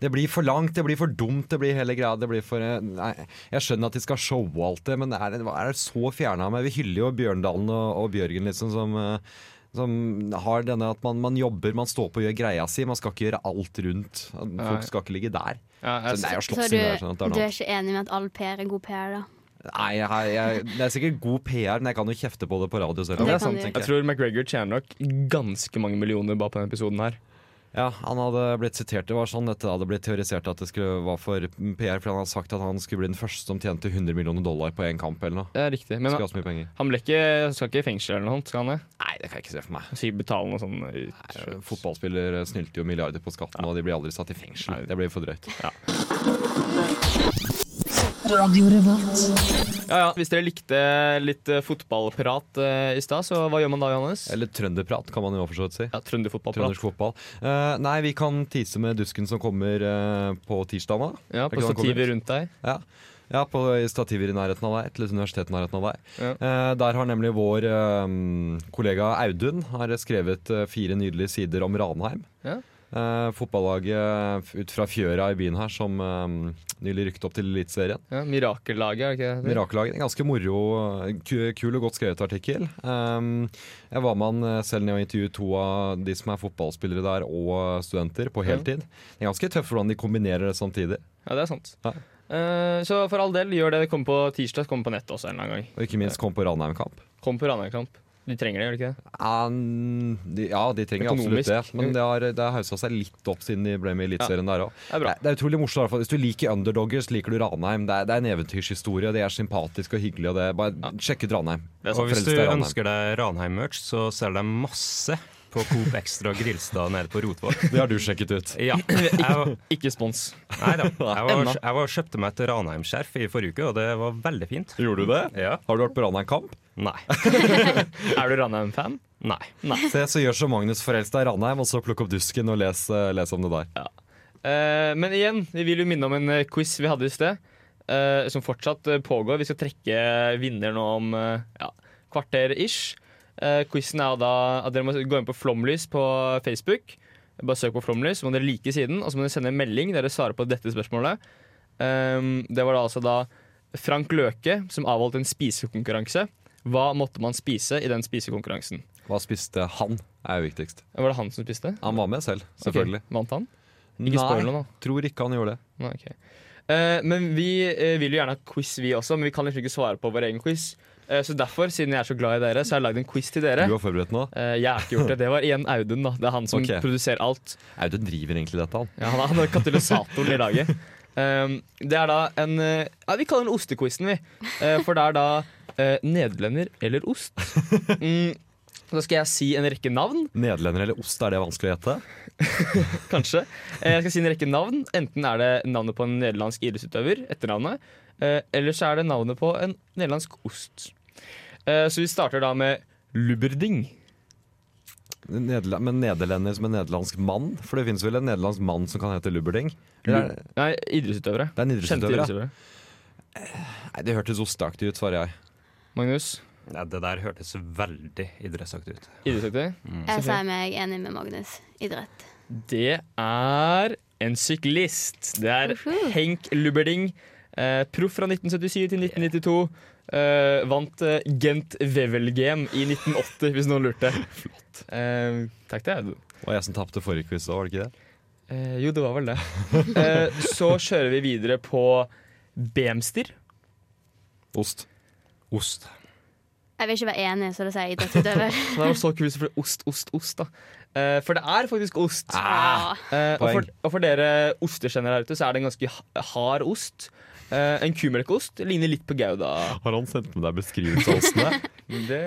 [SPEAKER 5] det blir for langt, det blir for dumt, det blir hele greia. Det blir for eh, Nei, jeg skjønner at de skal showe alt det, men er det, hva er det så fjerna med? Vi hyller jo Bjørndalen og, og Bjørgen, liksom, som eh, som har denne at man, man jobber, man står på og gjør greia si. Man skal ikke gjøre alt rundt.
[SPEAKER 4] Nei.
[SPEAKER 5] Folk skal ikke ligge der.
[SPEAKER 4] Ja, jeg
[SPEAKER 5] Så det er jo
[SPEAKER 6] Så
[SPEAKER 5] slåssing.
[SPEAKER 6] du,
[SPEAKER 5] det er sånn at det er
[SPEAKER 6] du
[SPEAKER 5] noe-
[SPEAKER 6] er ikke enig med at all PR er god PR, da?
[SPEAKER 5] Nei, jeg, jeg, det er sikkert god PR, men jeg kan jo kjefte på det på radio selv.
[SPEAKER 6] Ja, det er
[SPEAKER 5] Sånn
[SPEAKER 6] sant.
[SPEAKER 5] tenker
[SPEAKER 4] Jeg tror McGregor tjener nok ganske mange millioner bare på denne episoden her.
[SPEAKER 5] Ja, han hadde blitt sitert, det var sånn dette hadde blitt teorisert at det skulle være for PR, for han hadde sagt at han skulle bli den første som tjente 100 millioner dollar på én kamp eller noe.
[SPEAKER 4] Det er riktig. Men
[SPEAKER 5] Skulle ha
[SPEAKER 4] han,
[SPEAKER 5] så mye penger.
[SPEAKER 4] han ble ikke, skal ikke i fengsel eller noe sånt, skal han det?
[SPEAKER 5] Nei, det kan jeg ikke se for meg.
[SPEAKER 4] Sikkert betale noe sånn ut.
[SPEAKER 5] Fotballspillere snylte jo milliarder på skatten, og de blir aldri satt i fengsel. Det blir for drøyt.
[SPEAKER 4] Ja, ja. Hvis dere likte litt eh, fotballprat eh, i stad, så hva gjør man da, Johannes?
[SPEAKER 5] Eller trønderprat, kan man jo for så vidt si.
[SPEAKER 4] Ja, Trønderfotballprat.
[SPEAKER 5] Trøndersk fotball. Eh, nei, vi kan tease med Dusken som kommer eh, på tirsdag, da.
[SPEAKER 4] Ja, på
[SPEAKER 5] Ikke sant,
[SPEAKER 4] stativet rundt deg.
[SPEAKER 5] Ja. Ja, på stativer i nærheten av deg, til et universitet i nærheten av deg.
[SPEAKER 4] Ja.
[SPEAKER 5] Eh, der har nemlig vår eh, kollega Audun har skrevet eh, fire nydelige sider om Ranheim.
[SPEAKER 4] Ja.
[SPEAKER 5] Eh, fotballaget f- ut fra fjøra i byen her som eh, nylig rykket opp til Eliteserien.
[SPEAKER 4] Ja, Mirakellaget, er det ikke det?
[SPEAKER 5] Mirakellaget. En ganske moro, eh, ku- kul og godt skrevet artikkel. Eh, jeg var med han eh, selv når jeg intervjuet to av de som er fotballspillere der, og studenter på heltid. Det er ganske tøft hvordan de kombinerer det samtidig.
[SPEAKER 4] Ja, det er sant.
[SPEAKER 5] Ja.
[SPEAKER 4] Eh, så for all del, gjør det. Det kommer på tirsdag, kommer på nettet også en eller annen gang.
[SPEAKER 5] Og ikke minst kom på Ranheim-kamp.
[SPEAKER 4] Kom på Ranheim-kamp. Du trenger det, gjør du ikke det?
[SPEAKER 5] Ja, n- de, ja, de trenger
[SPEAKER 4] Økonomisk.
[SPEAKER 5] absolutt det. Men det har, det har haussa seg litt opp siden de ble med i Eliteserien der òg.
[SPEAKER 4] Det er bra.
[SPEAKER 5] Det er utrolig morsomt. i hvert fall. Hvis du liker underdoggers, liker du Ranheim. Det er, det er en eventyrshistorie. De er sympatiske og hyggelige. Og det, bare sjekk ut Ranheim.
[SPEAKER 4] Det er sant.
[SPEAKER 5] Og
[SPEAKER 4] Så
[SPEAKER 7] Og hvis
[SPEAKER 5] frels
[SPEAKER 7] du
[SPEAKER 5] deg i Ranheim.
[SPEAKER 7] ønsker deg Ranheim-merch, så selger de masse på Coop Extra Grilstad nede på Rotvåg.
[SPEAKER 5] Det har du sjekket ut.
[SPEAKER 7] Ja, jeg, var-
[SPEAKER 4] Ikke spons.
[SPEAKER 7] nei da. Jeg, var,
[SPEAKER 4] Ennå.
[SPEAKER 7] jeg var, kjøpte meg et Ranheim-skjerf i forrige uke, og det var veldig fint.
[SPEAKER 5] Gjorde du det?
[SPEAKER 7] Ja.
[SPEAKER 5] Har du vært på Ranheim-kamp?
[SPEAKER 7] Nei.
[SPEAKER 4] Er du Ranheim-fan?
[SPEAKER 7] Nei.
[SPEAKER 5] Se, så gjør som Magnus, forels deg i Ranheim, og så plukk opp dusken og les, eh, les om det der.
[SPEAKER 4] Eh, men igjen, vi vil jo minne om en eh, quiz vi hadde i sted, eh, som fortsatt eh, pågår. Vi skal trekke vinner nå om eh, ja, kvarter-ish. Eh, quizen er jo da at dere må gå inn på Flomlys på Facebook. Bare søk på Flomlys, så må dere like siden, og så må dere sende en melding der dere svarer på dette spørsmålet. Ehm, det var da altså da Frank Løke som avholdt en spisekonkurranse. Hva måtte man spise i den spisekonkurransen?
[SPEAKER 5] Hva spiste han? er jo viktigst.
[SPEAKER 4] Var det han som spiste?
[SPEAKER 5] Han var med selv, selvfølgelig.
[SPEAKER 4] Ok, Vant han? Ikke spoil
[SPEAKER 5] Nei,
[SPEAKER 4] noe, da.
[SPEAKER 5] tror ikke han gjorde det.
[SPEAKER 4] Nei, ok. Eh, men vi eh, vil jo gjerne ha quiz, vi også, men vi kan liksom ikke svare på vår egen quiz. Eh, så derfor, siden jeg er så glad i dere, så har jeg lagd en quiz til dere.
[SPEAKER 5] Du har forberedt nå?
[SPEAKER 4] Eh, jeg har ikke gjort det. Det var igjen Audun, da. Det er han som
[SPEAKER 5] Ok.
[SPEAKER 4] produserer alt.
[SPEAKER 5] Audun driver egentlig dette, han.
[SPEAKER 4] Ja, han er- han er katalysatoren i laget. Um, det er da en eh, Ja, vi kaller den ostequizen, vi. Eh, for det er da eh, nederlender eller ost. Mm, da skal jeg si en rekke navn,
[SPEAKER 5] Nederlender eller ost, er det vanskelig å gjette?
[SPEAKER 4] kanskje. Eh, jeg skal si en rekke navn. Enten er det navnet på en nederlandsk idrettsutøver, etternavnet, eh, eller så er det navnet på en nederlandsk ost. Eh, så vi starter da med lubberding.
[SPEAKER 5] Nederla- men nederlender som en nederlandsk mann? For det finnes vel en nederlandsk mann som kan hete Lubberding? Eller er det-
[SPEAKER 4] Nei, idrettsutøvere.
[SPEAKER 5] Det er en
[SPEAKER 4] Kjente
[SPEAKER 5] idrettsutøver, ja.
[SPEAKER 4] idrettsutøvere.
[SPEAKER 5] Nei, Det hørtes osteaktig ut, svarer jeg.
[SPEAKER 4] Magnus,
[SPEAKER 7] Nei, det der hørtes veldig idrettsaktig ut.
[SPEAKER 4] idrettsutøver.
[SPEAKER 5] Mm.
[SPEAKER 6] Jeg sier meg enig med Magnus. Idrett.
[SPEAKER 4] Det er en syklist. Det er
[SPEAKER 6] Uhu.
[SPEAKER 4] Henk Lubberding. Eh, proff fra 1977 til 1992. Eh, vant eh, Gent Wevelgem i 1980, hvis noen lurte. Flott. Eh, takk til Audun.
[SPEAKER 5] Og jeg som tapte forrige quiz, da, var det ikke det?
[SPEAKER 4] Eh, jo, det var vel det. Eh, så kjører vi videre på Bemster.
[SPEAKER 5] Ost.
[SPEAKER 7] Ost.
[SPEAKER 6] Jeg vil ikke være enig, så da sier jeg idrettsutøver.
[SPEAKER 4] Det var så kult, for det er ost, ost, ost. da eh, For det er faktisk ost.
[SPEAKER 6] Ah.
[SPEAKER 4] Eh, og, for,
[SPEAKER 5] Poeng.
[SPEAKER 4] og for dere osteskjenner der ute, så er det en ganske ha- hard ost. Eh, en kumelkost ligner litt på Gouda.
[SPEAKER 5] Har han sendt med deg beskrivelse av ostene?
[SPEAKER 4] Det,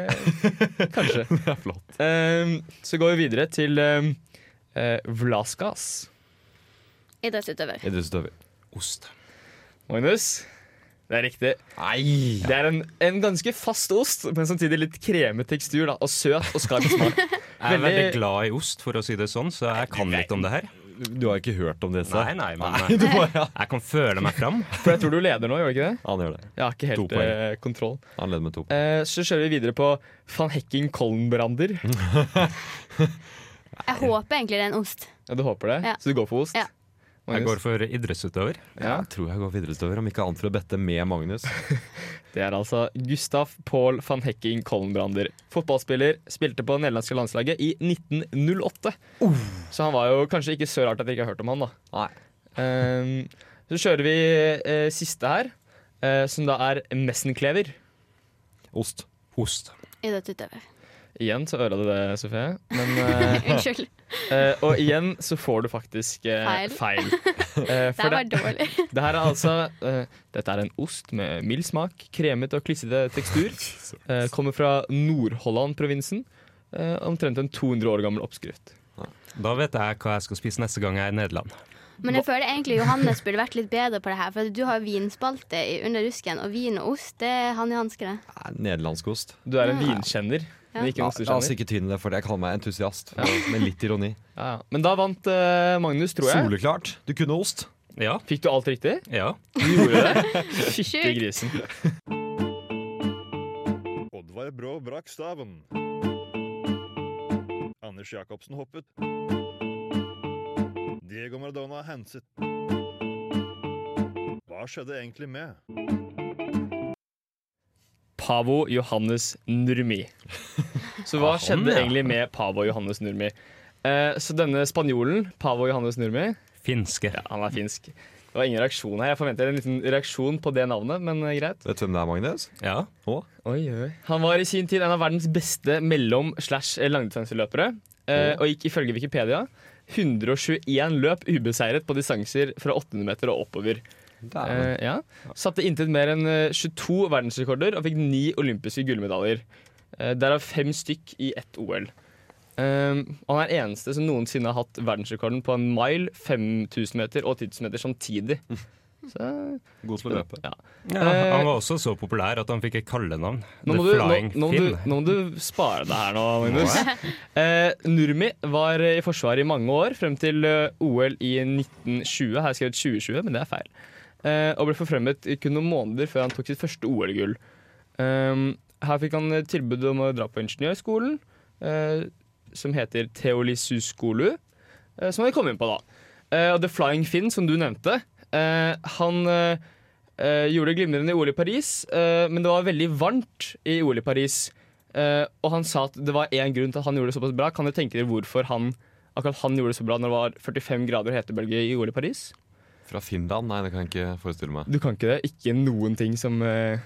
[SPEAKER 4] kanskje.
[SPEAKER 5] Det er flott.
[SPEAKER 4] Eh, så går vi videre til eh, eh, Vlaskas.
[SPEAKER 6] Idrettsutøver.
[SPEAKER 5] Idrettsutøver.
[SPEAKER 7] Ost.
[SPEAKER 4] Magnus, det er riktig.
[SPEAKER 5] Nei!
[SPEAKER 4] Det er en, en ganske fast ost, men samtidig litt kremet tekstur. da Og søt og skarp smak.
[SPEAKER 7] Jeg er
[SPEAKER 4] Veldig-
[SPEAKER 7] veldig glad i ost, for å si det sånn, så jeg kan litt om det her.
[SPEAKER 5] Du har ikke hørt om disse?
[SPEAKER 7] Nei, nei, men eh, jeg kan føle meg fram.
[SPEAKER 4] For jeg tror du leder nå, gjør du ikke det?
[SPEAKER 5] Han gjør det.
[SPEAKER 4] Jeg har ikke
[SPEAKER 5] To
[SPEAKER 4] helt
[SPEAKER 5] poeng.
[SPEAKER 4] eh, kontroll.
[SPEAKER 5] Han leder med to.
[SPEAKER 4] Eh, så kjører vi videre på van Hekking Kollenbrander.
[SPEAKER 6] Jeg håper egentlig det er en ost.
[SPEAKER 4] Ja, du håper det?
[SPEAKER 6] Ja.
[SPEAKER 4] Så du går for ost?
[SPEAKER 6] Ja.
[SPEAKER 7] Jeg
[SPEAKER 4] Magnus?
[SPEAKER 7] går for idrettsutøver.
[SPEAKER 4] Ja.
[SPEAKER 5] Jeg tror jeg går videre utover, om ikke annet for å bette med Magnus.
[SPEAKER 4] Det er altså Gustav Paul van Hekking Kollenbrander. Fotballspiller, spilte på nederlandske landslaget i 1908. Så han var jo kanskje ikke så rart at dere ikke har hørt om han, da.
[SPEAKER 5] Nei.
[SPEAKER 4] Ehm, så kjører vi eh, siste her, eh, som da er messenklever.
[SPEAKER 5] Ost.
[SPEAKER 7] Ost.
[SPEAKER 6] Idrettsutøver.
[SPEAKER 4] Igjen så øra du det, Sofie. Men, eh,
[SPEAKER 6] Unnskyld.
[SPEAKER 4] eh, og igjen så får du faktisk eh, feil.
[SPEAKER 6] Feil.
[SPEAKER 4] Eh,
[SPEAKER 6] Det
[SPEAKER 4] for
[SPEAKER 6] var
[SPEAKER 4] det,
[SPEAKER 6] dårlig.
[SPEAKER 4] det her er altså eh, Dette er en ost med mild smak, kremet og klissete tekstur. Eh, kommer fra Nord-Holland-provinsen. Eh, omtrent en 200 år gammel oppskrift.
[SPEAKER 7] Da vet jeg hva jeg skal spise neste gang jeg er i Nederland.
[SPEAKER 6] Men jeg føler egentlig Johannes burde vært litt bedre på det her. For du har vinspalte i- under rusken, og vin og ost, det er han i hansker, det.
[SPEAKER 5] Nei, Eh, Nederlandsk ost.
[SPEAKER 4] Du er en vinkjenner, men ikke en
[SPEAKER 5] Ja, la oss
[SPEAKER 4] ostekjenner.
[SPEAKER 5] ikke tvinne det, for jeg kaller meg entusiast. Med litt ironi.
[SPEAKER 4] Ja, ja. Men da vant eh, Magnus, tror jeg.
[SPEAKER 5] Soleklart. Du kunne ost.
[SPEAKER 7] Ja,
[SPEAKER 4] Fikk du alt riktig?
[SPEAKER 7] ja.
[SPEAKER 4] Du gjorde det? Fytti
[SPEAKER 6] Sjukt.
[SPEAKER 4] grisen.
[SPEAKER 8] Oddvar Brå brakk staven. Anders Jacobsen hoppet. Diego Maradona henset. Hva skjedde egentlig med?
[SPEAKER 4] Pavo Johannes Nurmi. Så hva
[SPEAKER 7] Ah, han,
[SPEAKER 4] skjedde
[SPEAKER 7] ja.
[SPEAKER 4] egentlig med Pavo Johannes Nurmi? Eh, så denne spanjolen, Pavo Johannes Nurmi,
[SPEAKER 7] Finske.
[SPEAKER 4] han er finsk. Det var ingen reaksjon her. Jeg forventer en liten reaksjon på det navnet, men eh, greit.
[SPEAKER 5] Vet du hvem det er, Magnus?
[SPEAKER 7] Ja.
[SPEAKER 4] Oi, oi. Han var i sin tid en av verdens beste mellom-slash-langdistanseløpere, eh, og gikk ifølge Wikipedia 121 løp ubeseiret på distanser fra 800 meter og oppover.
[SPEAKER 5] Dæven.
[SPEAKER 4] Eh, ja. Satte intet mer enn eh, 22 verdensrekorder og fikk ni olympiske gullmedaljer. Eh, derav fem stykk i ett OL. Eh, og han er eneste som noensinne har hatt verdensrekorden på en mile, 5000 meter og 10 000 meter samtidig. Så
[SPEAKER 5] God til å løpe.
[SPEAKER 7] ja. Han var også så populær at han fikk et kallenavn.
[SPEAKER 4] Eh, Nå må,
[SPEAKER 7] The
[SPEAKER 4] du, nå,
[SPEAKER 7] Flying
[SPEAKER 4] nå, må
[SPEAKER 7] Finn.
[SPEAKER 4] du, nå må du spare deg her nå, Magnus. Eh, Nurmi var eh, i Forsvaret i mange år, frem til eh, OL i 1920. Her har jeg skrevet 2020, men det er feil. Eh, og ble forfremmet kun noen måneder før han tok sitt første OL-gull. Ehm, her fikk han eh, tilbud om å dra på ingeniørskolen, eh, som heter Teolisuskolu, eh, som han kom inn på da. Eh, og The Flying Finn, som du nevnte, eh, han eh, Eh, gjorde det glimrende i OL i Paris, eh, men det var veldig varmt i OL i Paris. Eh, og han sa at det var én grunn til at han gjorde det såpass bra. Kan dere tenke dere hvorfor han, akkurat han gjorde det så bra når det var 45 grader og hetebølge i OL i Paris?
[SPEAKER 5] Fra Finland? Nei, det kan jeg ikke forestille meg.
[SPEAKER 4] Du kan ikke det. Ikke noen ting som eh,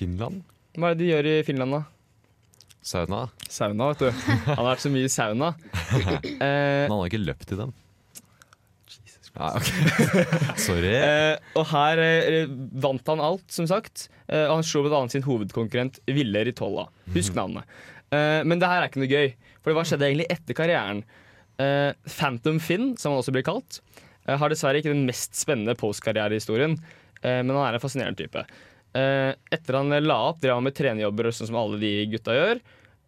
[SPEAKER 5] Finland?
[SPEAKER 4] Hva er det de gjør i Finland, da?
[SPEAKER 5] Sauna?
[SPEAKER 4] Sauna, vet du. Han har vært så mye i sauna. Eh,
[SPEAKER 5] Men han har ikke løpt i dem. Nei, ok. Sorry.
[SPEAKER 4] Eh, og her eh, vant han alt, som sagt. Eh, og han slo bl.a. sin hovedkonkurrent Ville Ritolla. Husk navnet. Eh, men det her er ikke noe gøy, for hva skjedde egentlig etter karrieren? Eh, Phantom Finn, som han også blir kalt, eh, har dessverre ikke den mest spennende postkarrierehistorien, eh, men han er en fascinerende type. Eh, etter han la opp, drev han med trenerjobber, sånn som alle de gutta gjør.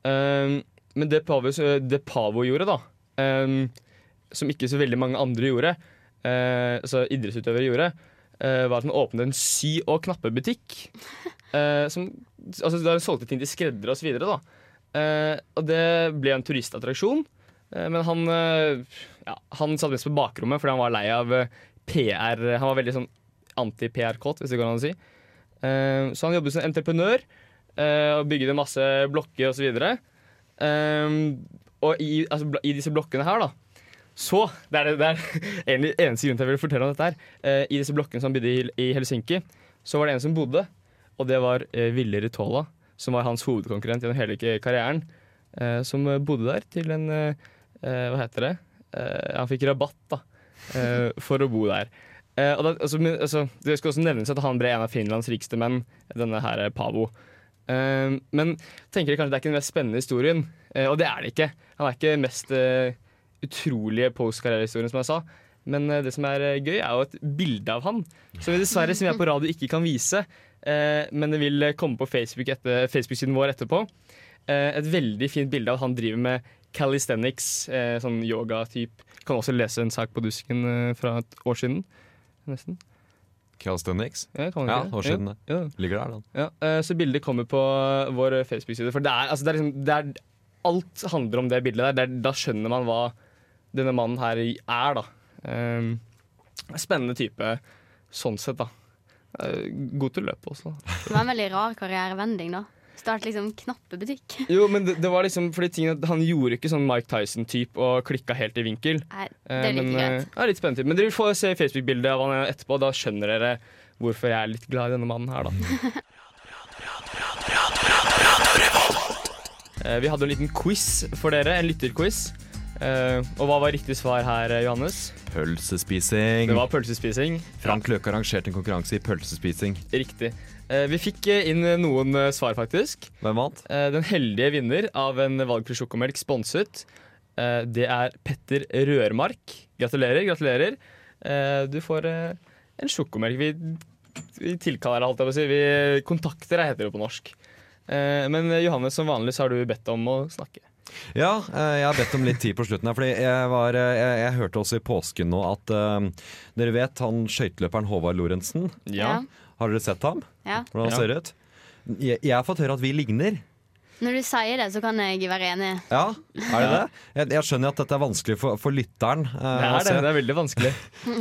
[SPEAKER 4] Eh, men det Pavo, det Pavo gjorde, da, eh, som ikke så veldig mange andre gjorde, eh, altså idrettsutøvere gjorde, eh, var at han åpnet en sy- og knappebutikk. Eh, som, altså, der han solgte ting til skreddere osv. Eh, og det ble en turistattraksjon. Eh, men han, eh, ja, han satt mest på bakrommet fordi han var lei av eh, PR. Han var veldig sånn anti-PR-kåt, hvis det går an å si. Eh, så han jobbet som entreprenør eh, og bygde masse blokker osv. Eh, og i, altså, bl- i disse blokkene her, da, så Det er, det- det er en, eneste grunn til jeg vil fortelle om dette her. Eh, I disse blokkene som han bygde i, i Helsinki, så var det en som bodde, og det var eh, Ville Ritola, som var hans hovedkonkurrent gjennom hele k- karrieren, eh, som eh, bodde der til en eh, eh, Hva heter det? Eh, han fikk rabatt, da, eh, for å bo der. Eh, og da, altså, men, altså, det skal også nevnes at han ble en av Finlands rikeste menn, denne her eh, Pavo. Eh, men tenker dere kanskje det er ikke den mest spennende historien, eh, og det er det ikke. Han er ikke mest eh, utrolige postkarrierehistorien, som jeg sa. Men eh, det som er eh, gøy, er jo et bilde av han, som vi dessverre som vi er på radio ikke kan vise. eh, men det vil eh, komme på Facebook etter, Facebook-siden vår etterpå. Eh, et veldig fint bilde av at han driver med calisthenics, eh, sånn yoga-typ. Kan også lese en sak på Dusken eh, fra et år siden. Nesten.
[SPEAKER 5] Calisthenics?
[SPEAKER 4] Ja, kan man
[SPEAKER 5] Ja,
[SPEAKER 4] ikke det?
[SPEAKER 5] år
[SPEAKER 4] Jo,
[SPEAKER 5] siden. det.
[SPEAKER 4] jo.
[SPEAKER 5] Ligger der, den.
[SPEAKER 4] eh, Ja, eh, så bildet kommer på vår Facebook-side. For det er, altså, det er, liksom, det er alt handler om det bildet der. Det er- Da skjønner man hva denne mannen her er, da. Ehm, spennende type sånn sett, da. Eh, god til å løpe også.
[SPEAKER 6] Det var en veldig rar karrierevending, da. Start liksom knappebutikk.
[SPEAKER 4] Jo, men det, det var liksom fordi tingene, han gjorde ikke sånn Mike Tyson-type og klikka helt i vinkel.
[SPEAKER 6] Nei,
[SPEAKER 4] Eh,
[SPEAKER 6] det er
[SPEAKER 4] men,
[SPEAKER 6] like greit.
[SPEAKER 4] eh, ja, litt spennende. Men dere får se Facebook-bildet av han etterpå. Da skjønner dere hvorfor jeg er litt glad i denne mannen her, da. Eh, Vi hadde en liten quiz for dere, en lytterquiz. Eh, Og hva var riktig svar her, eh, Johannes?
[SPEAKER 5] Pølsespising.
[SPEAKER 4] Det var pølsespising.
[SPEAKER 5] Frank Løke arrangerte en konkurranse i pølsespising.
[SPEAKER 4] Riktig. Eh, Vi fikk eh, inn noen eh, svar, faktisk.
[SPEAKER 5] Hvem vant?
[SPEAKER 4] Eh, Den heldige vinner av en valgfri sjokomelk sponset, eh, det er Petter Rørmark. Gratulerer, gratulerer. Eh, Du får eh, en sjokomelk. Vi, vi tilkaller deg, holdt jeg på å si. Vi kontakter deg, heter det på norsk. Eh, Men eh, Johannes, som vanlig så har du bedt om å snakke.
[SPEAKER 5] Ja, eh, jeg har bedt om litt tid på slutten her, fordi jeg, var, eh, jeg, jeg hørte også i påsken nå at eh, Dere vet han skøyteløperen Håvard Lorentzen?
[SPEAKER 6] Ja.
[SPEAKER 5] Har dere sett ham?
[SPEAKER 6] Ja.
[SPEAKER 5] Hvordan han
[SPEAKER 4] Ja.
[SPEAKER 5] ser ut? Jeg, jeg har fått høre at vi ligner.
[SPEAKER 6] Når du sier det, så kan jeg være enig.
[SPEAKER 5] Ja, er det det? Jeg, jeg skjønner at dette er vanskelig for, for lytteren.
[SPEAKER 4] Det
[SPEAKER 5] eh, å
[SPEAKER 4] er det.
[SPEAKER 5] se.
[SPEAKER 4] Det er veldig vanskelig.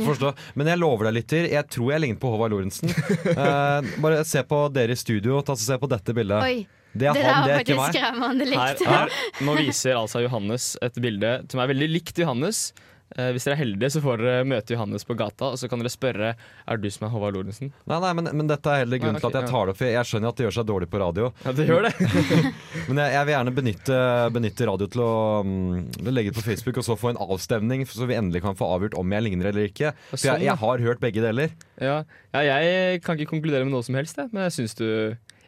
[SPEAKER 5] Forstå. Men jeg lover deg, lytter, jeg tror jeg ligner på Håvard Lorentzen. Eh, bare se på dere i studio, ta så se på dette bildet.
[SPEAKER 6] Oi,
[SPEAKER 5] det
[SPEAKER 6] det
[SPEAKER 5] er
[SPEAKER 6] der
[SPEAKER 5] han, det
[SPEAKER 6] var
[SPEAKER 5] er ikke
[SPEAKER 6] faktisk
[SPEAKER 5] meg.
[SPEAKER 6] skremmende
[SPEAKER 4] Her,
[SPEAKER 6] likt.
[SPEAKER 4] her, nå viser altså Johannes et bilde som er veldig likt Johannes. Eh, Hvis dere er heldige, så får dere møte Johannes på gata, og så kan dere spørre Er du som er Håvard Lorentzen.
[SPEAKER 5] Nei, nei, men, men dette er heller
[SPEAKER 4] Nei,
[SPEAKER 5] grunnen
[SPEAKER 4] ok,
[SPEAKER 5] til at jeg
[SPEAKER 4] ja.
[SPEAKER 5] tar det opp. for Jeg skjønner at det gjør seg dårlig på radio.
[SPEAKER 4] Ja, det gjør det.
[SPEAKER 5] Men jeg, jeg vil gjerne benytte, benytte radio til å mm, legge det på Facebook og så få en avstemning, så vi endelig kan få avgjort om jeg ligner eller ikke. For
[SPEAKER 4] sånn,
[SPEAKER 5] jeg, jeg har hørt begge deler.
[SPEAKER 4] Ja, ja, jeg kan ikke konkludere med noe som helst, jeg, men jeg syns du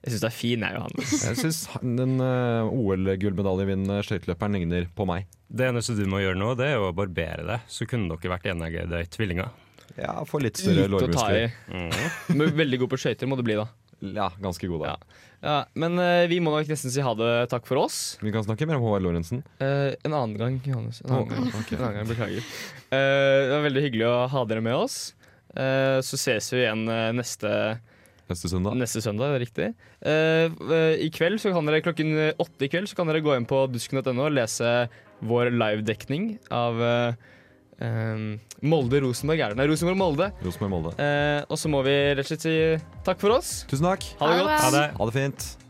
[SPEAKER 4] jeg synes det er fin, jeg, Johannes.
[SPEAKER 5] Jeg syns den eh, OL-gullmedaljevinnende skøyteløperen ligner på meg.
[SPEAKER 7] Det eneste du må gjøre nå, det er jo å barbere deg. Så kunne dere vært enige tvillinger.
[SPEAKER 5] Ja, får litt større Mm.
[SPEAKER 4] Lite å ta i.
[SPEAKER 5] lårmuskler.
[SPEAKER 4] Men veldig god på skøyter må du bli, da.
[SPEAKER 5] Ja, ganske god, da.
[SPEAKER 4] Ja. Ja, men eh, vi må nok nesten si ha det takk for oss.
[SPEAKER 5] Vi kan snakke mer om Håvard Lorentzen.
[SPEAKER 4] Eh, en annen gang, Johannes. En annen gang,
[SPEAKER 5] ok.
[SPEAKER 4] en annen gang Beklager. Eh, det var veldig hyggelig å ha dere med oss. Eh, så ses vi igjen eh, neste,
[SPEAKER 5] Neste søndag.
[SPEAKER 4] neste søndag, det er riktig. Eh, eh, I kveld så kan dere Klokken åtte i kveld så kan dere gå inn på dusken.no og lese vår livedekning av eh, eh, Molde-Rosenborg. Er det Nei, Rosenborg-Molde.
[SPEAKER 5] Rosenborg-Molde.
[SPEAKER 4] Eh, og så må vi rett og slett si takk for oss.
[SPEAKER 5] Tusen takk.
[SPEAKER 4] Ha det
[SPEAKER 6] Ha det
[SPEAKER 4] godt.
[SPEAKER 6] bra.
[SPEAKER 5] Ha det fint.